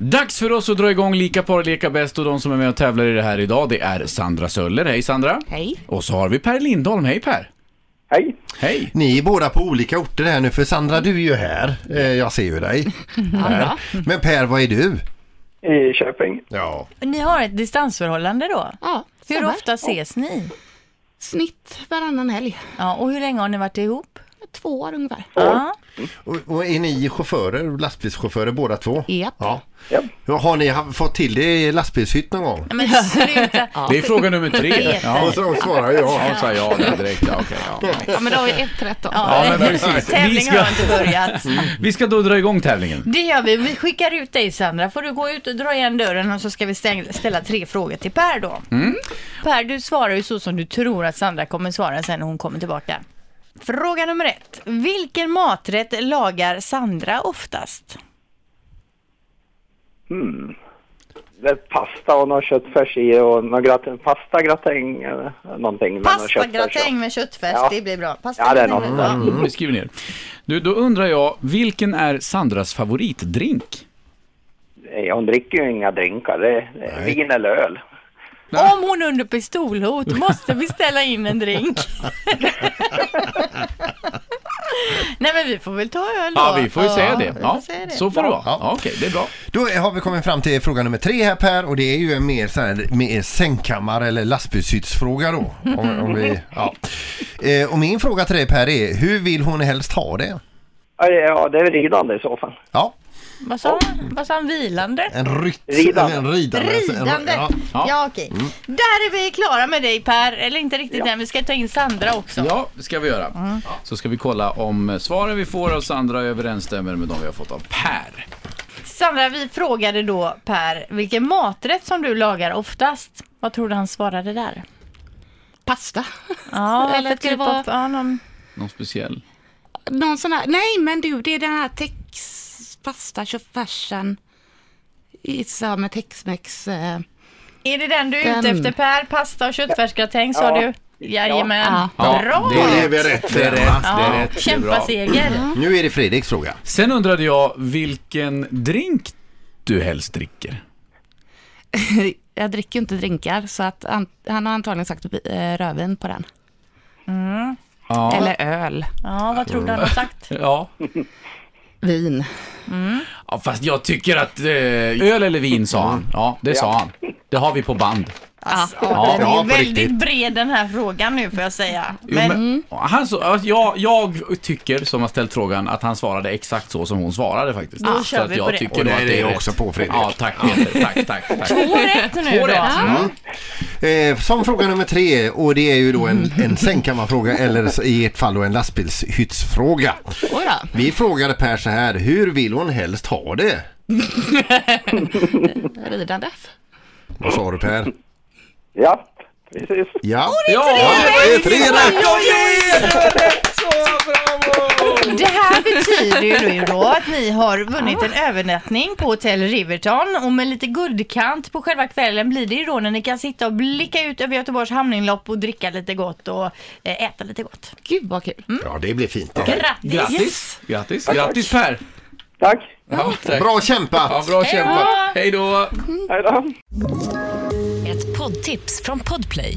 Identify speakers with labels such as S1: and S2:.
S1: Dags för oss att dra igång Lika par leka bäst och de som är med och tävlar i det här idag det är Sandra Söller, hej Sandra!
S2: Hej.
S1: Och så har vi Per Lindholm, hej Per!
S3: Hej!
S1: Hej!
S4: Ni är båda på olika orter här nu, för Sandra du är ju här. Eh, Jag ser ju dig. Här. Men Per, vad är du?
S3: I Köping.
S4: Ja.
S5: Ni har ett distansförhållande då?
S2: Ja,
S5: Hur
S2: stämmer.
S5: ofta ses ni?
S2: Snitt varannan helg.
S5: Ja, och hur länge har ni varit ihop?
S2: Två år ungefär.
S5: Ja.
S4: Och, och är ni chaufförer, lastbilschaufförer båda två?
S2: Japp.
S4: Ja.
S3: Japp.
S4: Ja, Har ni ha- fått till det i lastbilshytt någon gång?
S5: Men sluta.
S1: Det är fråga nummer tre. Ja,
S4: Och så svarar
S1: ja, hon
S4: jag.
S1: sa ja där direkt. Ja, okej, ja.
S2: Ja, men då har vi ett rätt då.
S1: Ja, men precis. Vi
S5: Tävlingen
S1: ska,
S5: har inte börjat.
S3: Mm.
S1: vi ska då dra igång tävlingen.
S5: Det gör vi. Vi skickar ut dig Sandra. Får du gå ut och dra igen dörren och så ska vi stäng- ställa tre frågor till Per då.
S3: Mm.
S5: Per, du svarar ju så som du tror att Sandra kommer svara sen när hon kommer tillbaka. Fråga nummer ett. Vilken maträtt lagar Sandra oftast?
S3: Det är pasta och någon köttfärs i och någon gratäng, pasta gratäng eller någonting. med någon köttfärs, ja.
S5: Pastagratäng med köttfärs,
S3: Ja.
S5: det blir bra. Pasta
S3: Ja, det är
S5: gratäng
S3: något.
S5: bra.
S1: Mm, Vi skriver ner. Du, då undrar jag, vilken är Sandras favoritdrink?
S3: Eh, Hon dricker ju inga drinkar, det är det är vin eller öl.
S5: Om hon under pistolhot måste vi ställa in en drink. Nej men vi får väl ta öl då.
S1: Ja, vi får ju säga
S5: vi
S1: det.
S5: får
S1: Ja,
S5: säga det.
S1: så får det vara.
S4: Ja.
S1: Ja, okej, det är bra.
S4: Då har vi kommit fram till fråga nummer tre här Per och det är ju en mer, så här, mer sängkammare eller lastbilshyttsfråga då. Om, om vi, ja. Eh, Och min fråga till dig Per är, hur vill hon helst ha det?
S3: Ja, det- Ja, det är ridande i så fall.
S4: Ja,
S5: Vad sa han? Vad sa han? Vilande?
S4: en rytt...
S3: Ridande.
S4: eller En ridande.
S5: Ridande!
S4: Ja.
S5: Ja, okej.
S1: Mm.
S5: Där är vi klara med dig Per, eller inte riktigt än, vi ska ta in Sandra också.
S1: Ja, det ska vi göra. Så ska vi kolla om svaren vi får av Sandra överensstämmer med de vi har fått av Per.
S5: Sandra, vi frågade då Per vilken maträtt som du lagar oftast. Vad tror du han svarade där?
S2: Pasta.
S5: Ja,
S2: Eller
S5: för
S2: ska det
S5: typ
S2: vara-
S5: av- ja, någon...
S1: Någon speciell?
S2: Någon sån här, nej men du, det är den här tex, pasta, köttfärsen. I så med texmex. Eh,
S5: Är det den du är ute
S2: Den.
S5: efter Per? Pasta och köttfärsgratäng sa
S3: Ja.
S5: du? Jajamän.
S2: Ja.
S1: Ja,
S5: Bra!
S1: det är
S4: vi rätt.
S1: Det är rätt, det
S5: Ja,
S1: är rätt. Det är
S5: Kämpa
S1: bra. Mm.
S5: seger.
S4: Nu är det Fredriks fråga.
S1: Sen undrade jag vilken drink du helst dricker.
S2: jag dricker ju inte drinkar så att an, han har antagligen sagt eh, rödvin på den. Mm.
S1: Ja.
S2: Eller öl.
S5: Ja, vad tror
S1: Mm.
S5: du han har sagt?
S1: Ja.
S2: Vin.
S1: ja, fast jag tycker att eh, öl eller vin sa han. Ja, det sa han. Det har vi på band.
S2: Alltså,
S5: Ja, den
S4: ja,
S5: är
S4: på
S5: väldigt
S4: riktigt.
S5: bred den här frågan nu får jag säga.
S1: Jo, men, han så, alltså, jag, jag tycker, som har ställt frågan, att han svarade exakt så som hon svarade faktiskt.
S5: Då
S1: så
S5: kör
S1: att
S5: vi
S1: jag
S5: på det.
S1: tycker nog
S4: Och det
S1: att
S4: är jag
S1: rätt.
S4: också på, Fredrik.
S1: Ja, tack Peter. Tack, tack, tack.
S5: Två rätt nu
S1: Två
S5: då.
S1: rätt.
S4: Eh, som fråga nummer tre och det är ju då en, en sängkammarfråga eller i ert fall då en lastbilshyttsfråga.
S2: Oj då.
S4: Vi frågade Per så här, hur vill hon helst ha det?
S2: Ridandes.
S4: Vad sa du Per?
S3: Ja, precis.
S4: Ja,
S1: Ja,
S4: det är tre rätt!
S5: Det här betyder ju då att ni har vunnit en övernattning på Hotel Riverton och med lite guldkant på själva kvällen blir det ju då när ni kan sitta och blicka ut över Göteborgs hamninlopp och dricka lite gott och eh, äta lite gott.
S2: Gud vad kul.
S4: Ja, det blir fint. det.
S5: Grattis!
S1: Grattis! Grattis, grattis Per!
S3: Tack,
S1: Ja, tack.
S4: Bra
S1: Ja,
S4: kämpat!
S1: bra kämpat. Hej då!
S3: hej då.
S6: Ett poddtips från Podplay.